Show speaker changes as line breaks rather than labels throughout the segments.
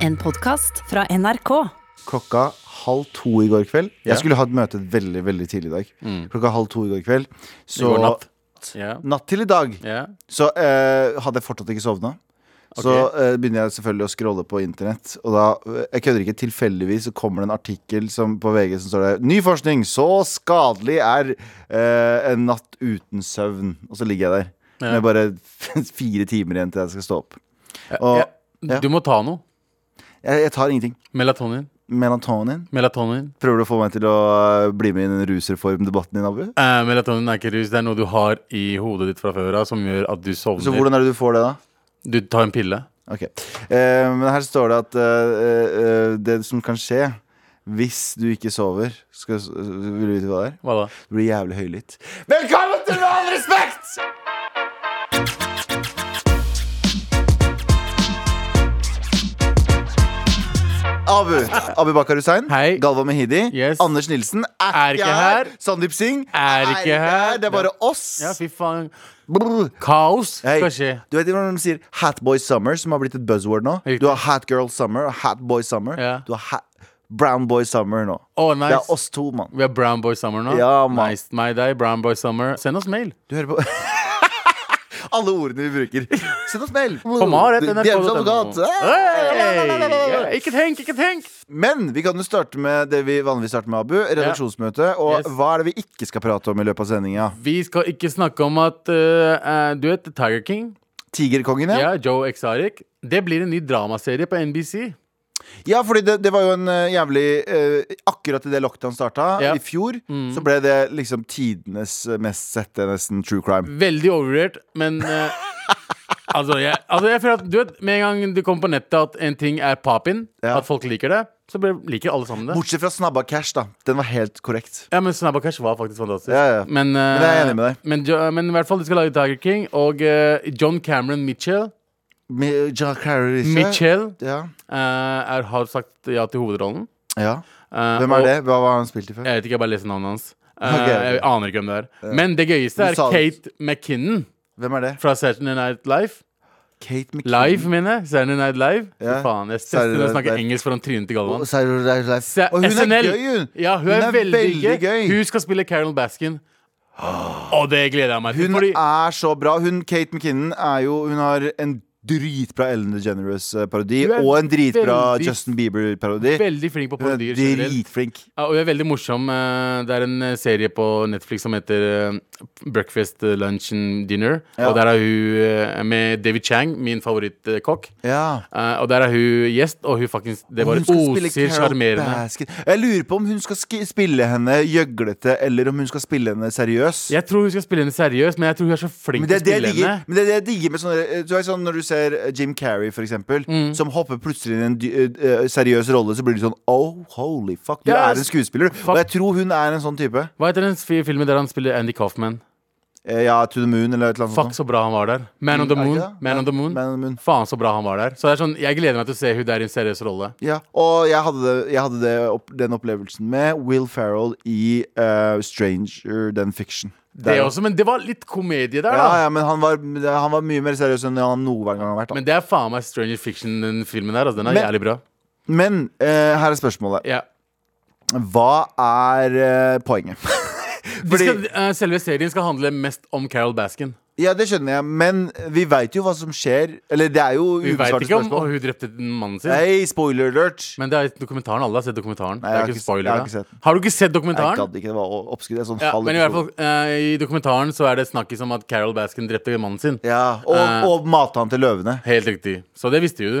En podkast fra NRK.
klokka halv to i går kveld. Jeg
Ja. Mm.
skulle hatt møte veldig veldig tidlig i dag. Klokka halv to i går kveld. Så,
går natt. Ja.
natt til i dag
Ja.
så eh, hadde jeg fortsatt ikke sovna. Så
Ok.
eh, begynner jeg selvfølgelig å scrolle på internett. Og da, eh, jeg kødder ikke, tilfeldigvis så kommer det en artikkel som, på VG som står der. Ny forskning! Så skadelig er eh, en natt uten søvn. Og så ligger jeg der
Ja.
med bare fire timer igjen til jeg skal stå opp. Og
Ja.
Ja.
Du må ta noe.
jeg, jeg tar ingenting.
Melatonin.
Melatonin.
Melatonin
Prøver du å få meg til å eh, bli med i den rusreformdebatten din, Abu?
Eh, Melatonin er ikke rus, det er noe du har i hodet ditt fra før av som gjør at du sovner.
Så hvordan er det du får det, da?
Du tar en pille.
Ok. Eh, men her står det at eh, eh, det som kan skje hvis du ikke sover skal, Vil du vite hva det er?
Hva da?
Du blir jævlig høylytt. Velkommen til Med all respekt! Abu Abu Bakar Hussein,
Hei.
Galva Mehidi,
Yes.
Anders Nilsen er,
Er ikke her.
Sandeep Singh
Er ikke her.
Det er bare oss.
Ja, fy faen.
Brr.
Kaos
Hei,
skal skje.
Du vet ikke hvordan de sier Hatboy Summer, som har blitt et buzzword nå?
Riktig.
Du har Hatgirl Summer og Hatboy Summer.
Ja.
Du har hat Brown Boy Summer nå.
Å, nice.
Det er oss to, mann.
Vi har Brown Boy Summer nå.
Ja, man.
nice. Meg, deg, Brown Boy Summer. Send oss mail.
Du hører på Alle ordene vi bruker. Send oss mail!
Pomaret,
D-
NRK.no.
DMs advokat.
Hey! Ja, Ikke tenk, ikke tenk!
Men vi kan jo starte med det vi vanligvis starter med, Abu. Redaksjonsmøte. Og
Yes.
hva er det vi ikke skal prate om i løpet av sendinga?
Vi skal ikke snakke om at eh, eh, Du vet Tiger King?
Tigerkongen, ja?
Ja, Joe Exaric. Det blir en ny dramaserie på NBC.
Ja, fordi det, det var jo en eh, jævlig eh, Akkurat idet lockdown starta
Ja. Mm.
i fjor, så ble det liksom tidenes eh, mest sette nesten true crime.
Veldig overvurdert, men eh, altså, jeg, altså, jeg føler at du vet, Med en gang du kommer på nettet at en ting er pop-in,
Ja.
at folk liker det, så ble, liker alle sammen det.
Bortsett fra Snabba Cash, da. Den var helt korrekt.
Ja, men Snabba Cash var faktisk fantastisk.
Ja, ja.
Men, eh,
det er jeg enig med deg.
Men, Jo- men i hvert fall, de skal lage Tiger King, og eh, John Cameron Mitchell
Mi- Jack Harris, ja.
Mitchell
Ja.
eh, er, har sagt ja til hovedrollen.
ja.
Eh,
Hvem
og-
er det? Hva har han spilt i før?
Jeg vet ikke, jeg bare leser navnet hans. Eh,
Ok, ok.
Jeg aner ikke hvem det er. Men det gøyeste
Du
er
sa det.
Kate McKinnon
Hvem er det?
fra Saturday Night Live.
Kate
Live, mener jeg. Saturday Night Live. Ja.
Ja.
Faen, jeg
Saturday
tester å
Night
snakke
Live.
engelsk foran trynet til Galvan.
Og Saturday Night Live.
Se-
Og hun
SNL.
er gøy, hun!
Ja, hun, er, veldig, gøy.
Hun,
Hun skal spille Carol Baskin. Og det gleder jeg meg til. fordi
Ah. er så bra. Hun, Kate McKinnon er jo Hun har en dritbra Ellen DeGeneres-parodi
Hun er
og en dritbra
veldig-
Justin Bieber-parodi.
veldig flink på
Hun er
parodier generelt.
dritflink.
Ja, og hun er veldig morsom. Eh, Det er en eh, serie på Netflix som heter eh, Breakfast, eh, Lunch and Dinner.
Ja.
Og der er hun eh, med David Chang, min favorittkokk.
Ja.
Eh, og der er hun gjest, og hun fuckings Det bare
Hun skal spille
oser
Carole
sjarmerende.
Baskin. Jeg lurer på om hun skal sk spille henne gjøglete, eller om hun skal spille henne seriøs.
Jeg tror hun skal spille henne seriøs, men jeg tror hun er så flink
Men det, er det,
til å
jeg
spille
digger,
henne.
men det er det jeg digger med sånne eh, Du vet sånn Når du ser eh, Jim Carrey, for eksempel,
Mm.
som hopper plutselig inn i en dy- eh, eh, seriøs rolle, så blir du sånn Oh, holy fuck, du
Yes.
er en skuespiller.
Fuck.
Og jeg tror hun er en sånn type.
Hva heter den fi- filmen der han spiller Andy Coffman?
Eh, ja, To the Moon, eller et eller annet
Fuck,
sånt.
så bra han var der. Man on the
Er det
moon.
ikke det?
Man on the moon.
Man on the Moon.
Faen, så bra han var der. Så det er sånn, Jeg gleder meg til å se hun der i en seriøs rolle.
Ja, og jeg hadde, det, jeg hadde det opp, den opplevelsen med Will Ferrell i eh, Stranger Than Fiction.
Det
Der.
også, Men det var litt komedie der, da.
Ja, ja, men han var, han var mye mer seriøs enn han noen gang har vært. Da.
Men det er faen meg Stranger Fiction, den filmen der. Altså, den er
Men-
jævlig bra.
Men eh, her er spørsmålet.
Ja.
Hva er eh, poenget?
De
Fordi,
Skal, eh, selve serien skal handle mest om Carol Baskin.
ja, det skjønner jeg, men vi veit jo hva som skjer. Eller det er jo
Vi veit
ubesvarte
ikke om
spørsmål.
og hun drepte den mannen sin.
Hey, spoiler alert!
Men det er dokumentaren. Alle har sett dokumentaren.
Nei, jeg
det er
har
ikke
ikke-
spoiler.
jeg har
da.
ikke sett den.
har du ikke sett
Jeg
dokumentaren?
gadd ikke, det var o- oppskrift. Det er sånn
Ja,
halv
men i hvert fall
episode.
eh, I dokumentaren så er det snakkis om at Carol Baskin drepte mannen sin.
ja, og,
Eh.
og mate han til løvene.
Helt riktig. Så det visste jo du.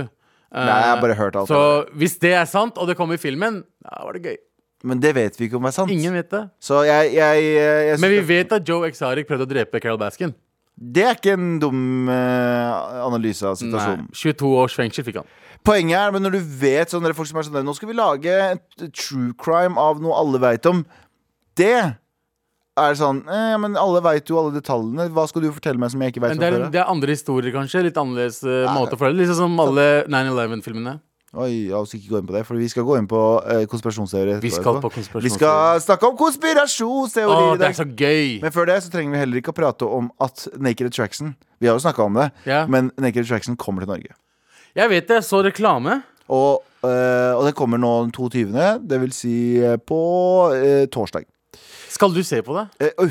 Eh,
Nei, jeg har bare hørt alt
Så hvis det er sant, og det kommer i filmen, da var det gøy.
Men det vet vi ikke om er sant.
Ingen vet det.
Så jeg, jeg, jeg, jeg
Men vi
synes
vet at Joe Exaric prøvde å drepe Carol Baskin.
Det er ikke en dum eh, analyse av
Nei,
situasjonen.
22 års fengsel fikk han.
Poenget er, men når du vet sånn, eller folk som er sånn der, Nå skal vi lage et true crime av noe alle vet om Det er sånn eh, ja, Men alle vet jo alle detaljene Hva skal du fortelle meg som jeg ikke vet
Men det
fra
er,
før? av?
det er andre historier, kanskje. Litt annerledes eh, måte å fortelle. Liksom som alle 9-11-filmene.
Oi, la oss ikke gå inn på det For vi skal gå inn på eh, konspirasjonsteorier
Vi
etterpå.
skal på konspirasjonsteorier.
Vi skal snakke om
Å,
konspirasjonsteorier i
det
dag
er så gøy!
Men før det så trenger vi heller ikke å prate om at Naked Attraction Vi har jo snakket om det
Ja.
Men Naked Attraction kommer til Norge
Jeg vet det. Jeg så reklame.
Og, eh, og den kommer nå den 22., det vil si eh, på eh, torsdag.
Skal du se på det?
Eh, Og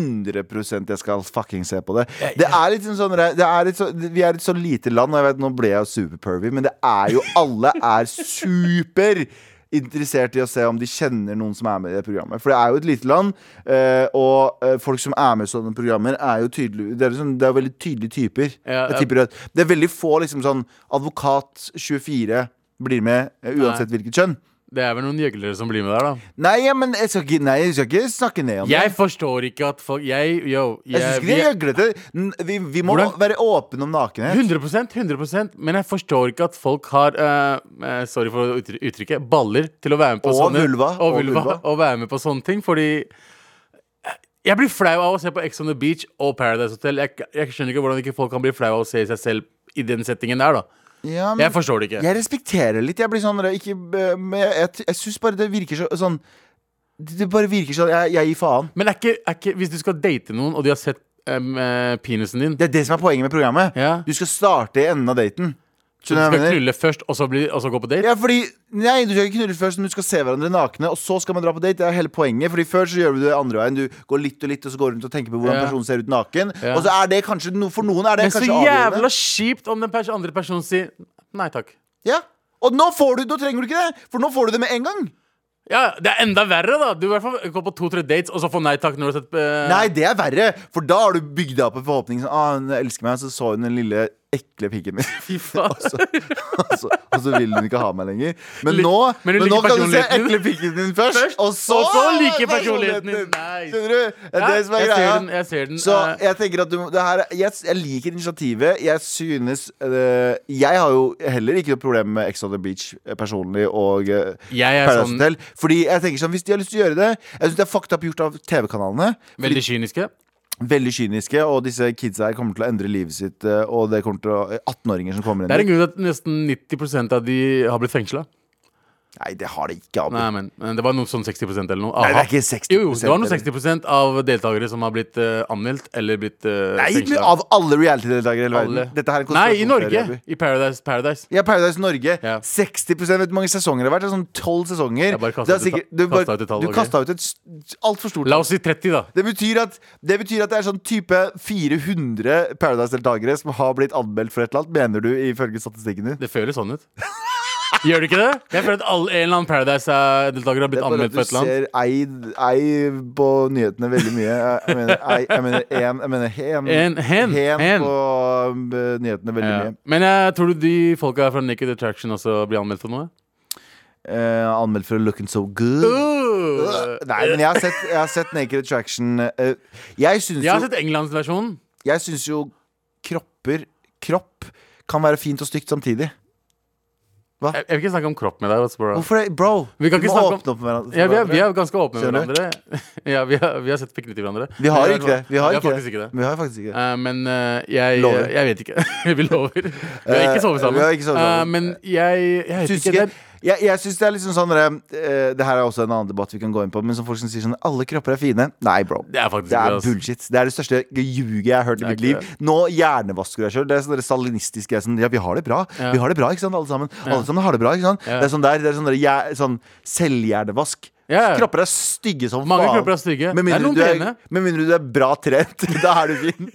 100 jeg skal fucking se på det. Det er litt sånn det er litt så, Vi er et så lite land, og jeg vet, nå ble jeg superpervy, men det er jo alle er super interessert i å se om de kjenner noen som er med i det programmet. For det er jo et lite land, eh, og eh, folk som er med i sånne programmer, er jo tydelig, det er, liksom, det er veldig tydelige typer.
Ja,
jeg
ja.
tipper at Det er veldig få liksom sånn advokat 24 blir med, eh, uansett hvilket kjønn.
Det er vel noen gjøglere som blir med der, da.
Nei, ja, men jeg skal ikke, nei, jeg skal ikke snakke ned om det.
Jeg forstår ikke at folk Jeg, yo
Jeg syns ikke det er gjøglete. N- Vi, vi må
Hvordan-
være åpne om nakenhet.
100 100 Men jeg forstår ikke at folk har eh, eh, Sorry for uttry- uttrykket. Baller til å være med på
Og
sånne
vulva,
Og
og
vulva.
vulva.
Og være med på sånne ting, fordi jeg blir flau av å se på Ex on the Beach og Paradise Hotel. Jeg, jeg skjønner ikke hvordan ikke folk kan bli flau av å se seg selv i den settingen der, da.
Ja, men
Jeg forstår det ikke.
jeg respekterer litt. Jeg blir sånn ikke, men Jeg, jeg, jeg syns bare det virker så, sånn Det det bare virker sånn Jeg, jeg gir faen.
Men er ikke, er ikke, hvis du skal date noen, og de har sett em, eh, penisen din
Det er det som er poenget med programmet.
Ja.
Du skal starte i enden av daten.
Du
Skjønner du
skal
hva jeg mener?
knulle først, og så, bli, og så gå på date?
Ja, fordi, nei, Du skal ikke knulle først, men du skal se hverandre nakne, og så skal man dra på date. Det er hele poenget Fordi Før så gjør du det andre veien. Du går litt og litt, og så går du rundt og tenker på hvordan
Ja.
personen ser ut naken.
Ja.
Og så er det kanskje no, For noen er det
Men så
kanskje
jævla kjipt om den pers andre personen sier nei takk.
Ja. Og nå får du, nå trenger du ikke det, for nå får du det med en gang.
Ja, Det er enda verre, da. Du i hvert fall går på to-tre dates, og så får nei takk når du har sett eh,
Nei, det er verre, for da har du bygd deg opp en forhåpning sånn, ah, hun elsker meg, og så så hun den lille ekle pikken min.
Fy faen.
Og så, og, så, og så vil hun ikke ha meg lenger. Men
Litt-
nå,
men
men
hun
nå
liker
kan du se
personligheten din.
ekle pikken din først,
Først,
og så,
og så liker personligheten din. Nice.
Skjønner du? Det er
Ja,
det som er
jeg ser
greia.
den, jeg ser den,
Så
eh.
jeg tenker at du, må- det her, jeg, jeg liker initiativet. Jeg synes eh, Jeg har jo heller ikke noe problem med Ex on the Beach eh, personlig og eh,
Jeg er
Paradise
sånn
Hotel. Fordi jeg tenker sånn, Hvis de har lyst til å gjøre det Jeg synes det er fucked up gjort av TV-kanalene. Fordi
veldig kyniske.
Veldig kyniske, og disse kidsa her kommer til å endre livet sitt. eh, Og det kommer til å 18-åringer som kommer inn
Det er en grunn til at nesten 90 av de har blitt fengsla.
Nei, det har de ikke, Abu.
Nei,
Nei,
men men det var noe sånn 60 eller noe.
det
Aha.
er ikke 60
Jo, jo, det var noe
eller-
60 av deltakere som har blitt eh, anmeldt eller blitt uh,
Nei, men av alle reality-deltakere i hele verden. Dette her er en
Nei,
konspirasjonsserie,
i Norge.
Abu.
I Paradise. Paradise.
Ja, Paradise Norge.
Ja.
60 Vet du hvor mange sesonger det har vært? Det er sånn 12 sesonger.
Jeg bare kastet
Det er
ut et
sikkert-
ta-
du bare-
kastet ut et tall,
Du
ok.
kasta ut et s- altfor stort
La oss si 30, da.
Det betyr, at, det betyr at det er sånn type 400 Paradise-deltakere som har blitt anmeldt for et eller annet, mener du, ifølge statistikken din?
Det føles sånn ut. Gjør det ikke det? Jeg føler at alle, en eller annen Paradise-deltaker har blitt anmeldt for et eller annet.
ser ei, ei på nyhetene veldig mye. Jeg- Jeg mener ei, jeg mener en, jeg mener hen,
En- hen, hen.
på um, nyhetene veldig
Ja.
mye.
Men eh, tror du de folka fra Naked Attraction også blir anmeldt for noe?
Eh, anmeldt for 'looking so good'. Nei, men jeg har sett, jeg har sett Naked Attraction. eh, jeg syns
Jeg har
jo,
sett Englandsversjonen.
jeg syns jo kropper Kropp kan være fint og stygt samtidig.
Jeg, jeg vil ikke snakke om kropp med deg. what's bro?
Hvorfor det? Bro,
Vi kan ikke
må
snakke om-
åpne opp med hverandre.
Ja, vi, er, vi er ganske åpne med
Skjønner du?
hverandre. ja, vi, har, vi har sett pikkene til hverandre.
Vi har
Men-
ikke det. Vi har, ikke,
faktisk ikke det.
Vi har faktisk ikke det.
Eh, men eh, jeg,
Lover.
jeg vet ikke. vi lover. Vi har ikke sovet
Eh,
sammen.
vi har ikke sovet sammen.
Eh, men jeg, jeg vet
Syns
ikke.
ikke,
Det,
jeg, jeg syns det er liksom sånn eh, Det her er også en annen debatt vi kan gå inn på, men som folk som sier sånn Alle kropper er fine. Nei, bro.
det altså. er faktisk
Det er
ass.
bullshit. Det er det største ljuget jeg har hørt i
Det er
mitt
ikke
liv. Nå hjernevasker jeg sjøl. Det er sånn der stalinistisk jeg er sånn Ja, vi har det bra.
Ja.
Vi har det bra, ikke sant, alle sammen. Alle sammen har det bra, ikke sant.
Ja.
Det er sånn der, det er sånn, der, jeg, sånn selvhjernevask.
Ja, ja.
Kropper er stygge som
Mange
faen.
kropper er stygge.
Med
Det
mindre,
er noen
du
pene.
er, med mindre du er bra trent. da er du fin.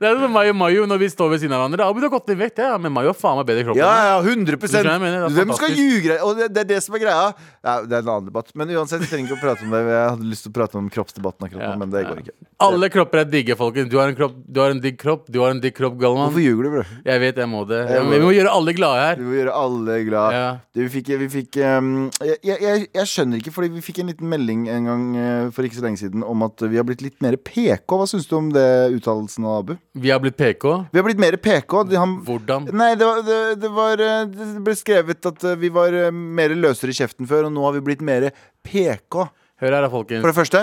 Det er som meg og Mayo når vi står ved siden av hverandre. Abu, du har gått ned i vekt, ja, men Mayo har faen meg bedre kropp. enn meg.
Ja, ja, 100
skjønner hva jeg mener, det er
Hvem skal
fantastisk.
ljuge? Og det, det er det som er greia. Ja, det er en annen debatt. Men uansett, vi trenger ikke å prate om det. Jeg hadde lyst til å prate om kroppsdebatten akkurat nå,
Ja,
men det går
ja.
ikke.
Alle kropper er digge, folkens. Du har en, kropp, du har en digg kropp, du har en digg kropp, Galvan.
Hvorfor ljuger du, bro?
Jeg vet jeg må det.
Jeg må
vi må
det.
gjøre alle glade
Du
her.
må gjøre alle glad.
Ja.
Du, vi fikk, vi fikk um, jeg, jeg- jeg, jeg skjønner ikke, fordi vi fikk en liten melding en gang eh, for ikke så lenge siden om at vi har blitt litt mer PK. Hva syns du om det uttalelsen av Abu?
Vi har blitt PK.
Vi har blitt mer PK. De- Han,
Hvordan?
Nei, det, var, det, det, var, eh, det ble skrevet at eh, vi var eh, mer løsere i kjeften før, og nå har vi blitt mer PK.
Hør her, da, folkens.
For det første,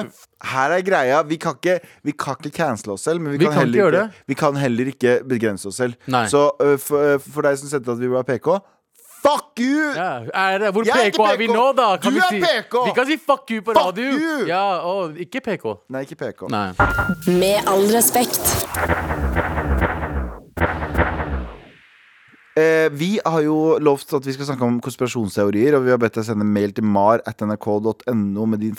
her er greia. Vi kan ikke, vi kan ikke cancele oss selv, men vi,
Vi
kan,
kan ikke
heller
gjøre
ikke, vi kan heller ikke begrense oss selv.
Nei.
Så ø, for, ø, for deg som sendte at vi var PK, fuck you!
Ja, er det, hvor
Jeg er
PK
ikke
er vi
PK.
nå, da? Kan
Du
vi
er
si,
PK.
Vi kan si fuck you på
Fuck
radio.
you.
Ja, å, ikke PK.
Nei, ikke PK.
Nei.
Med all respekt.
Eh, vi har jo lovt at vi skal snakke om konspirasjonsteorier, og vi har bedt deg sende mail til mar at nrk.no med din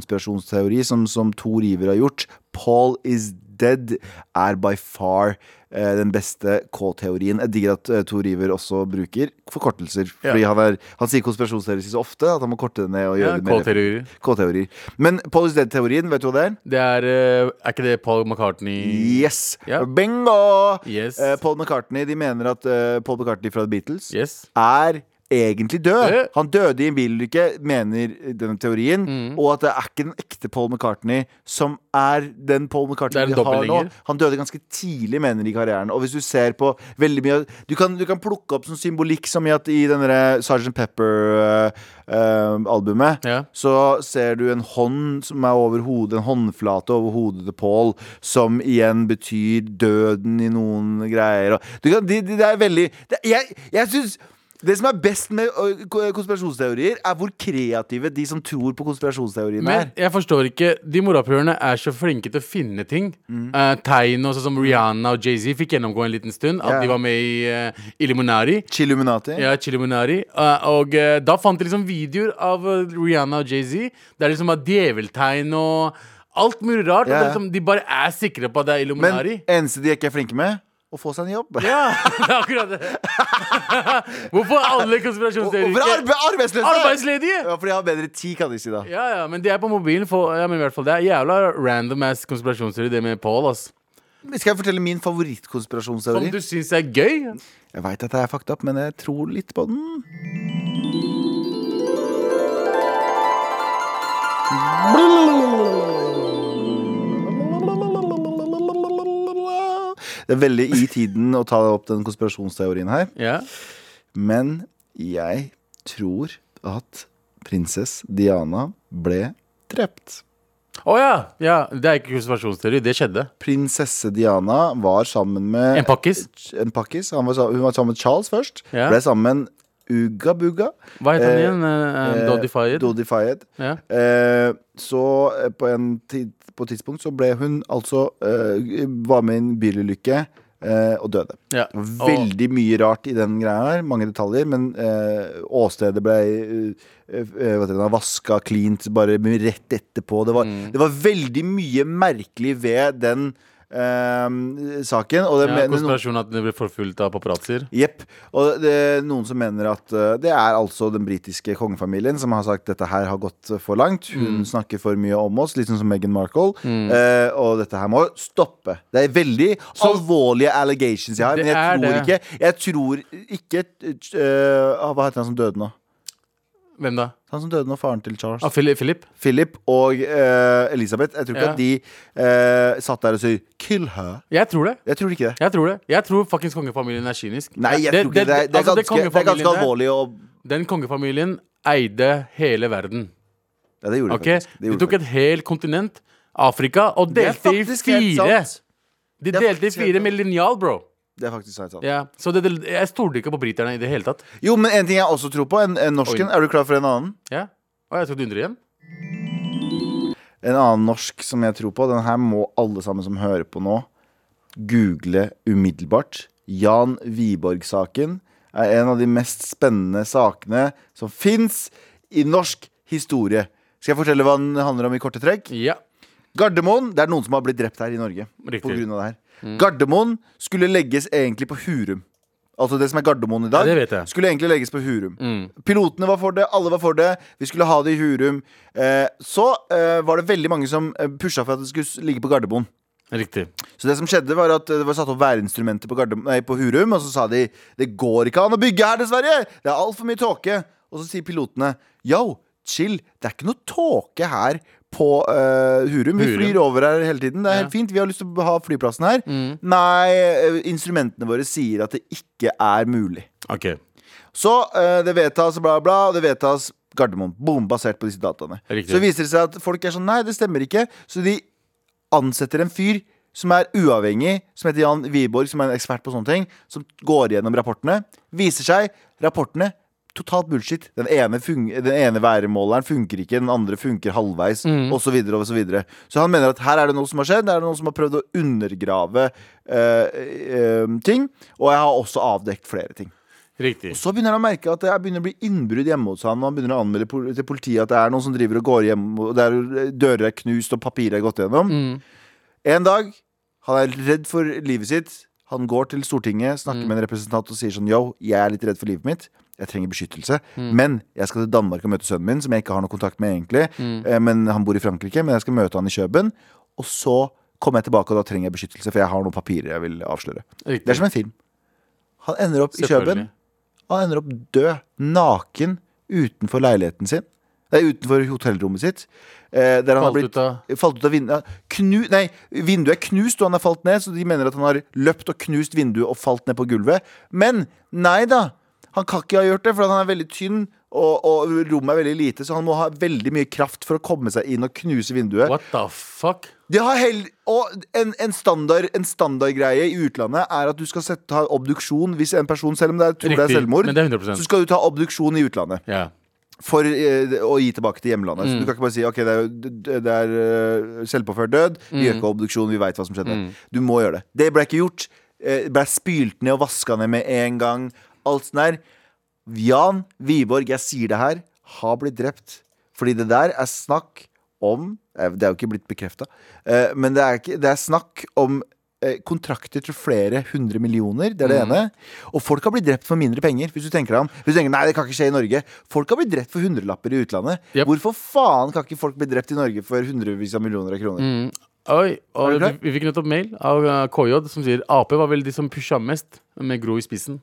favorittkonspirasjonsteori, som, som Tor Iver har gjort. Paul is dead er by far eh, den beste K-teorien. Jeg digger at eh, Tor Iver også bruker forkortelser.
Ja.
Fordi han, er, han sier konspirasjonsteorier så ofte at han må korte det ned og gjøre
Ja,
det mer
K-teorier.
K-teorier. Men Paul is dead-teorien, vet du hva det er?
Det er eh, Er ikke det Paul McCartney
Yes!
Ja.
Bingo!
Yes.
Eh, Paul McCartney, de mener at eh, Paul McCartney fra The Beatles
Yes.
er egentlig død.
Død.
Han døde i en bilulykke, mener denne teorien.
Mm.
Og at det er ikke den ekte Paul McCartney som er den Paul
Det
McCartney
er en
vi har nå.
dobbeltgjenger.
Han døde ganske tidlig, mener de, i karrieren. Og hvis du ser på veldig mye av- Du kan, du kan plukke opp sånn symbolikk som i at i denne Sgt. eh, Pepper-albumet
Ja.
så ser du en hånd som er over hodet, en håndflate over hodet til Paul, som igjen betyr døden i noen greier. og- Du kan, de, de, det er veldig det, Jeg, jeg syns det som er best med ø, ko- konspirasjonsteorier, er hvor kreative de som tror på konspirasjonsteoriene
Men
er.
jeg forstår ikke De morapulerne er så flinke til å finne ting.
Mm.
Eh, tegn og sånn som Rihanna og Jay-Z fikk gjennomgå en liten stund. At
Ja.
de var med i uh, Illuminari.
Chilluminati.
Ja, Chiliminari. Eh, og eh, da fant de liksom videoer av eh, Rihanna og Jay-Z. Der liksom var djeveltegn og alt mulig rart.
Ja,
Og det
ja.
er liksom, de bare er sikre på at det er
Men
Illuminari.
eneste de ikke er flinke med, å få seg en jobb.
Ja, det er akkurat det. Hvorfor er alle konspirasjonsteorier
Hvorfor
ikke-
arbe arbeidsløse?
arbeidsledige?
Ja, for de har bedre tid, kan de si da.
Ja, ja, men de er på mobilen. For, ja, men i hvert fall, det er jævla random ass konspirasjonsteori, det med Paul. ass
Skal jeg fortelle min
Som
favorittkonspirasjonsteori?
du syns er gøy.
Jeg veit at jeg er fucked up, men jeg tror litt på den. Det er veldig i tiden å ta opp den konspirasjonsteorien her,
Ja.
men jeg tror at prinsesse Diana ble drept.
Å ja, ja! Det er ikke konspirasjonsteori. Det skjedde.
Prinsesse Diana var sammen med
En pakkis.
en pakkis. Han var, sa- hun var sammen med Charles først.
Ja.
Ble sammen Uga Buga.
Hva het han
Eh,
igjen? Eh, eh, Doddy Fayed?
Dodi Fayed.
Ja.
Eh, så eh, på, en tid, på et tidspunkt så ble hun altså eh, Var med i en bilulykke eh, og døde.
Ja.
Det var Veldig mye rart i den greia her. Mange detaljer. Men eh, åstedet ble eh, eh, hva heter det, vaska cleant bare rett etterpå. Det var,
Mm.
det var veldig mye merkelig ved den eh, saken. Og det
Ja,
mener noen-
konspirasjonen at den blir forfulgt av paparazzier.
Jepp. Og det er noen som mener at eh, det er altså den britiske kongefamilien som har sagt dette her har gått for langt.
Mm.
Hun snakker for mye om oss, litt sånn som Meghan Markle. Eh, og dette her må stoppe. Det er veldig alvorlige allegations jeg har,
Det
men jeg tror
er det.
ikke Jeg tror ikke eh, ah, Hva heter han som døde nå?
Hvem da?
Han som døde nå, faren til Charles.
Ah, Philip? Philip?
Philip og eh, Elisabeth. Jeg tror ikke
Ja.
at de eh, satt der og sa 'kill her'.
Jeg tror det.
Jeg tror ikke det.
Jeg tror det Jeg tror fuckings kongefamilien er kynisk.
Nei, jeg tror ikke det. Det er, det er,
altså,
ganske, det er ganske
kongefamilien der,
alvorlig å
Den kongefamilien eide hele verden.
ja, det gjorde
Ok?
det faktisk. Det
De
gjorde det
tok et helt kontinent, Afrika, og
Det er
delte i
faktisk helt
fire.
sant.
De
er
delte i
faktisk helt
fire
sant.
med linjal, bro.
Det er faktisk helt sant.
Ja. Så det, det, jeg stoler ikke på briterne i det hele tatt.
Jo, men en ting jeg også tror på, en, en norsken.
Oi.
Er du klar for en annen?
Ja? Å, jeg tror du undrer igjen?
En annen norsk som jeg tror på. Den her må alle sammen som hører på nå, google umiddelbart. Jan Wiborg-saken er en av de mest spennende sakene som fins i norsk historie. Skal jeg fortelle hva den handler om i korte trekk?
Ja.
Gardermoen, det er noen som har blitt drept her i Norge
Riktig.
på grunn av det her. Gardermoen skulle legges egentlig på Hurum. Altså det som er Gardermoen i dag,
Ja, det vet jeg.
skulle egentlig legges på Hurum. Pilotene var for det, alle var for det. Vi skulle ha det i Hurum. Eh, så eh, var det veldig mange som eh, pusha for at det skulle s- ligge på Gardermoen.
Riktig.
Så det som skjedde var at eh, det var satt opp værinstrumenter på, Gardem- nei, på Hurum, og så sa de det går ikke an å bygge her, dessverre! Det er altfor mye tåke. Og så sier pilotene yo, chill, det er ikke noe tåke her på eh, Hurum. Vi
Hurum.
flyr over her hele tiden. Det er
Ja. Mm.
helt fint. Vi har lyst til å ha flyplassen her. Nei, eh, instrumentene våre sier at det ikke er mulig.
Ok.
Så eh, det vedtas bla, bla, og det vedtas Gardermoen. Boom, basert på disse dataene.
Riktig.
Så viser det seg at folk er sånn Nei, det stemmer ikke. Så de ansetter en fyr som er uavhengig, som heter Jan Wiborg, som er en ekspert på sånne ting, som går gjennom rapportene. Viser seg rapportene totalt bullshit. Den ene, fun den ene væremåleren funker ikke, den andre funker halvveis, og så videre og Så, videre. så han mener at her er det noe som har skjedd, her er det noen som har prøvd å undergrave eh, eh, ting. Og jeg har også avdekt flere ting.
Riktig.
Så begynner han å merke at det er- begynner å bli innbrudd hjemme hos han. Og han begynner å anmelde pol- til politiet at det er noen som driver og går hjem og der dører er knust og papirer er gått gjennom. En dag, han er redd for livet sitt. Han går til Stortinget, snakker med en representant og sier sånn Yo, jeg er litt redd for livet mitt. Jeg trenger beskyttelse. Men jeg skal til Danmark og møte sønnen min, som jeg ikke har noe kontakt med egentlig. Eh, Men han bor i Frankrike, men jeg skal møte han i Kjøben. Og så kommer jeg tilbake, og da trenger jeg beskyttelse, for jeg har noen papirer jeg vil avsløre. Det er som en film. Han ender opp i Kjøben.
Selvfølgelig.
Han ender opp død, naken, utenfor leiligheten sin. Det er utenfor hotellrommet sitt. Eh, der han har
Falt
blitt,
ut av-
falt ut av vinduet. Knu, nei, vinduet er knust, og han har falt ned, så de mener at han har løpt og knust vinduet og falt ned på gulvet. Men nei da! Han kan ikke ha gjort det, for han er veldig tynn, og, og rommet er veldig lite, så han må ha veldig mye kraft for å komme seg inn og knuse vinduet.
What the fuck?
Det har hell Og en, en, standard, en standardgreie i utlandet er at du skal sette, ta obduksjon hvis en person, selv om det er, tror det er
Riktig,
selvmord,
men det er 100%.
så skal du ta obduksjon i utlandet
Ja.
for eh, å gi tilbake til hjemlandet. Så du kan ikke bare si ok, det er, det- det er eh, selvpåført død, vi gjør ikke obduksjon, vi veit hva som skjedde. Du må gjøre det. Det ble ikke gjort. Eh, ble spylt ned og vaska ned med en gang. Alt sånn der. Jan Wiborg, jeg sier det her, har blitt drept. Fordi det der er snakk om eh, Det er jo ikke blitt bekrefta, men det er, ikke, det er snakk om eh, kontrakter til flere hundre millioner. Det er det
Mm.
ene. Og folk har blitt drept for mindre penger. Hvis du tenker deg om Hvis du tenker, Nei, det kan ikke skje i Norge. Folk har blitt drept for hundrelapper i utlandet.
Jep.
Hvorfor faen kan ikke folk bli drept i Norge for hundrevis av millioner av
Mm,
kroner?
Oi,
Er
og
du klar?
vi fikk nettopp mail av eh, KJ som sier Ap var vel de som pusha mest, med Gro i spissen,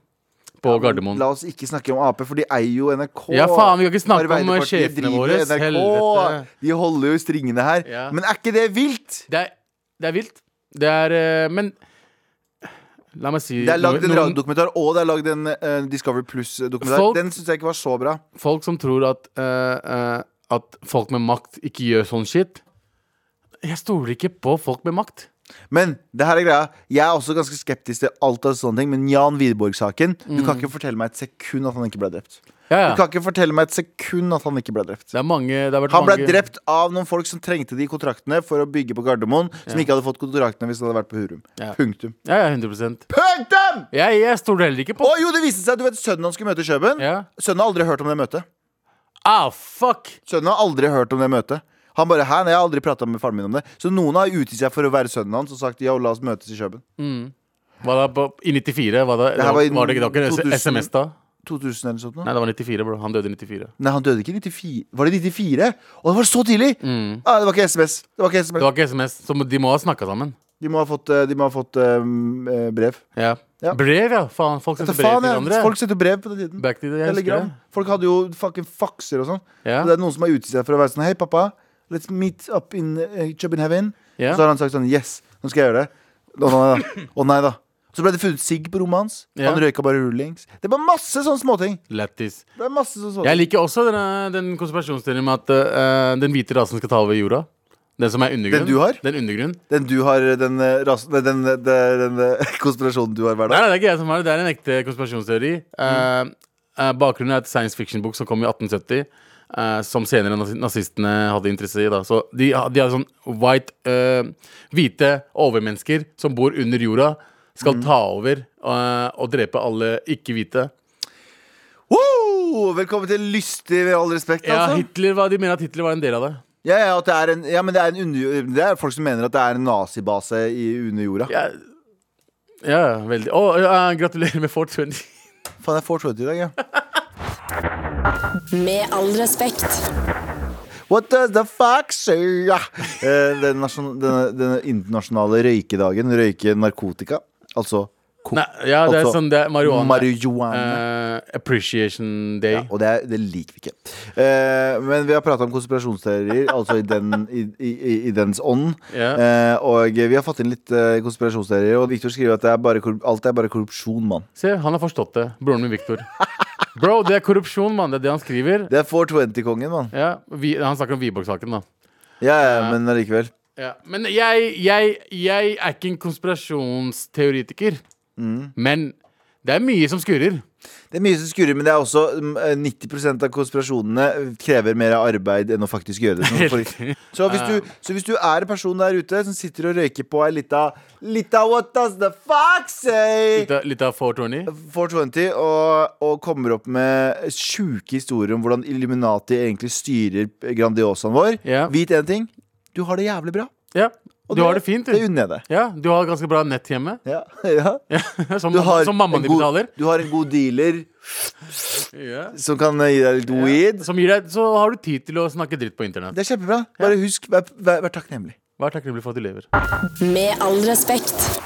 på Gardermoen.
La oss ikke snakke om Ap, for de eier jo NRK.
Ja, faen, vi kan ikke snakke om
Arbeiderpartiet
sjefene
driver
våre.
NRK.
Helvete.
De holder jo i stringene her.
Ja.
Men er ikke det vilt?
Det er, det er vilt. Det er eh, Men la meg si
Det er lagd en
noen-
radiodokumentar, og det er lagd en eh, Discovery Plus-dokumentar.
Folk-
Den syns jeg ikke var så bra.
Folk som tror at, eh, eh, at folk med makt ikke gjør sånn shit. Jeg stoler ikke på folk med makt.
Men det her er greia jeg er også ganske skeptisk til alt av sånne ting. Men Jan Widerborg-saken Du kan ikke fortelle meg et sekund at han ikke ble drept.
Mm. Ja,
Du
ja.
kan ikke fortelle meg et sekund at han ikke ble drept.
Det er mange det har vært
Han ble
mange,
drept av noen folk som trengte de kontraktene for å bygge på Gardermoen, som ikke hadde fått kontraktene hvis det hadde vært på Hurum.
Ja.
Punktum.
Ja, ja, 100
Punktum!
Jeg, jeg stoler heller ikke på
Å jo, det viste seg! Du vet, sønnen hans skulle møte i Kjøben.
Ja.
Sønnen har aldri hørt om det møtet.
Ah, fuck!
Sønnen har aldri hørt om det møtet. Han bare, hæ, nei, jeg har aldri pratet med faren min om det Så noen har utgitt seg for å være sønnen hans og sagt ja, la oss møtes i Kjøben.
Hva da, på, I 94? Hva da, det,
her
var,
var i
var det, ikke- det var ikke
2000.
SMS da?
2000 eller sånt noe.
Nei, det var 94, bro. Han døde i 94.
Nei, han døde ikke i 94. Var det 94? Og det var så tidlig! Ah, det var ikke SMS. Det var ikke
Det
SMS.
var ikke SMS, så de må ha snakka sammen.
De må ha fått, eh, de må ha fått um, eh, brev.
Ja.
Ja.
Brev, ja. Faen, folk
Etter
sendte brev
faen,
til
ja.
hverandre.
Folk sendte brev på den tiden.
Back to the, jeg husker
Telegram.
det.
Folk hadde jo fucking fakser og sånn.
Ja.
Så det er noen som har utgitt seg for å være sånn Hei, pappa. Let's meet up in eh, Copenhagen.
Ja.
Og Så har han sagt sånn Yes, nå skal jeg gjøre det. Å nei da. Å nei da. Så ble det funnet sigg på rommet hans.
Ja.
Han røyka bare rullings. Det var masse sånne småting.
Lættis.
Det var masse sånne
Jeg
småting.
liker også denne, den konspirasjonsteorien med at eh, den hvite rasen skal ta over jorda. Den som er undergrunn.
Den du har?
Den undergrunn.
Den du har, den, eh, ras- nei, den, den, den, eh, konspirasjonen du har hver
Nei,
dag.
nei, det er ikke jeg som har det. Det er en ekte konspirasjonsteori. Eh, eh, bakgrunnen er et science fiction-bok som kom i 1870. eh, som senere nazi- nazistene hadde interesse i. Da. Så de, ha- de hadde sånn white, eh, hvite overmennesker som bor under jorda, skal ta over eh, og drepe alle ikke-hvite.
Woo! Velkommen til Lystig, med all respekt.
Ja,
altså.
sånn. Hitler, var- De mener at Hitler var en del av det.
Ja, ja, at det er en, ja, men det er, en under, det er folk som mener at det er en nazibase i under jorda.
Ja, ja veldig. Å, ja, gratulerer med 420.
Faen, jeg får 20 i dag, ja.
Med all respekt.
What does the fuck say? Ja. Eh, Den, nasjon, den, den internasjonale røykedagen, røyke narkotika, altså kok,
Nei, ja, det er
Altså,
sånn det er marihuana.
marihuana.
Eh, appreciation Day.
og det, er- det liker vi ikke. Eh, men vi har prata om konspirasjonsteorier, altså i, den, i, i, i- i dens ånd.
Ja.
Eh, og vi har fått inn litt eh, konspirasjonsteorier, og Victor skriver at det er bare, korrup- alt er bare korrupsjon, mann.
Se, han har forstått det. Broren min Victor. Bro, det er korrupsjon, mann. Det er det han skriver.
Det er 420-kongen, mann.
Ja, vi, han snakker om Wiborg-saken, da.
Ja, ja, men allikevel.
Ja. Men
Mm.
jeg, jeg, jeg er ikke en konspirasjonsteoretiker. Men Det er mye som skurrer.
Det er mye som skurrer, men det er også mm, 90 av konspirasjonene krever mer arbeid enn å faktisk gjøre det. Sånn, for, så, hvis du, så hvis du er en person der ute som sitter og røyker på ei lita Lita what does the fuck say?
Litt av- Litt av 420.
420 og, og kommer opp med sjuke historier om hvordan Illuminati egentlig styrer Grandiosaen vår.
Ja.
Vit én ting. Du har det jævlig bra.
Ja. Du har det fint,
Det
du.
unner jeg deg.
Ja, du har ganske bra nett hjemme.
Ja, ja.
Som,
Du har
som mammaen
en
din
god-
betaler.
Du har en god dealer
Ja.
som kan eh, gi deg litt god weed.
Som gir deg, så har du tid til å snakke dritt på internett.
Det er kjempebra. Bare husk, vær, vær, vær takknemlig.
Vær takknemlig for at du lever.
Med all respekt.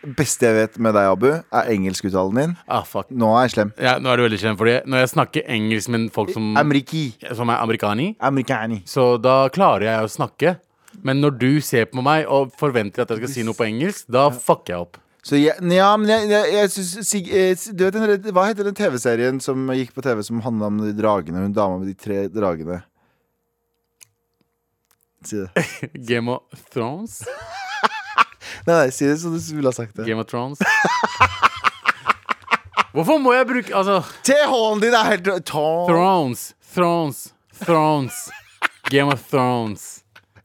Det beste jeg vet med deg, Abu, er engelskuttalen din.
Ah, fuck.
Nå er jeg slem.
Ja, nå er du veldig kjent for det. Når jeg snakker engelsk med folk som,
Ameriki.
som er amerikani,
Amerikani.
så da klarer jeg å snakke. Men når du ser på meg og forventer at jeg skal si noe på engelsk, da fucker jeg opp.
Så jeg, ja, men jeg, jeg, jeg synes Sig, eh, Du vet den, Hva heter den TV-serien som gikk på TV som handla om de dragene? Hun dama med de tre dragene. Si det.
Game of Thrones.
Nei, nei, si det som du ville ha sagt det.
Game of Thrones. Hvorfor må jeg bruke Altså,
TH-en din er helt Tårn.
Thrones, Thrones, Thrones. Game of Thrones.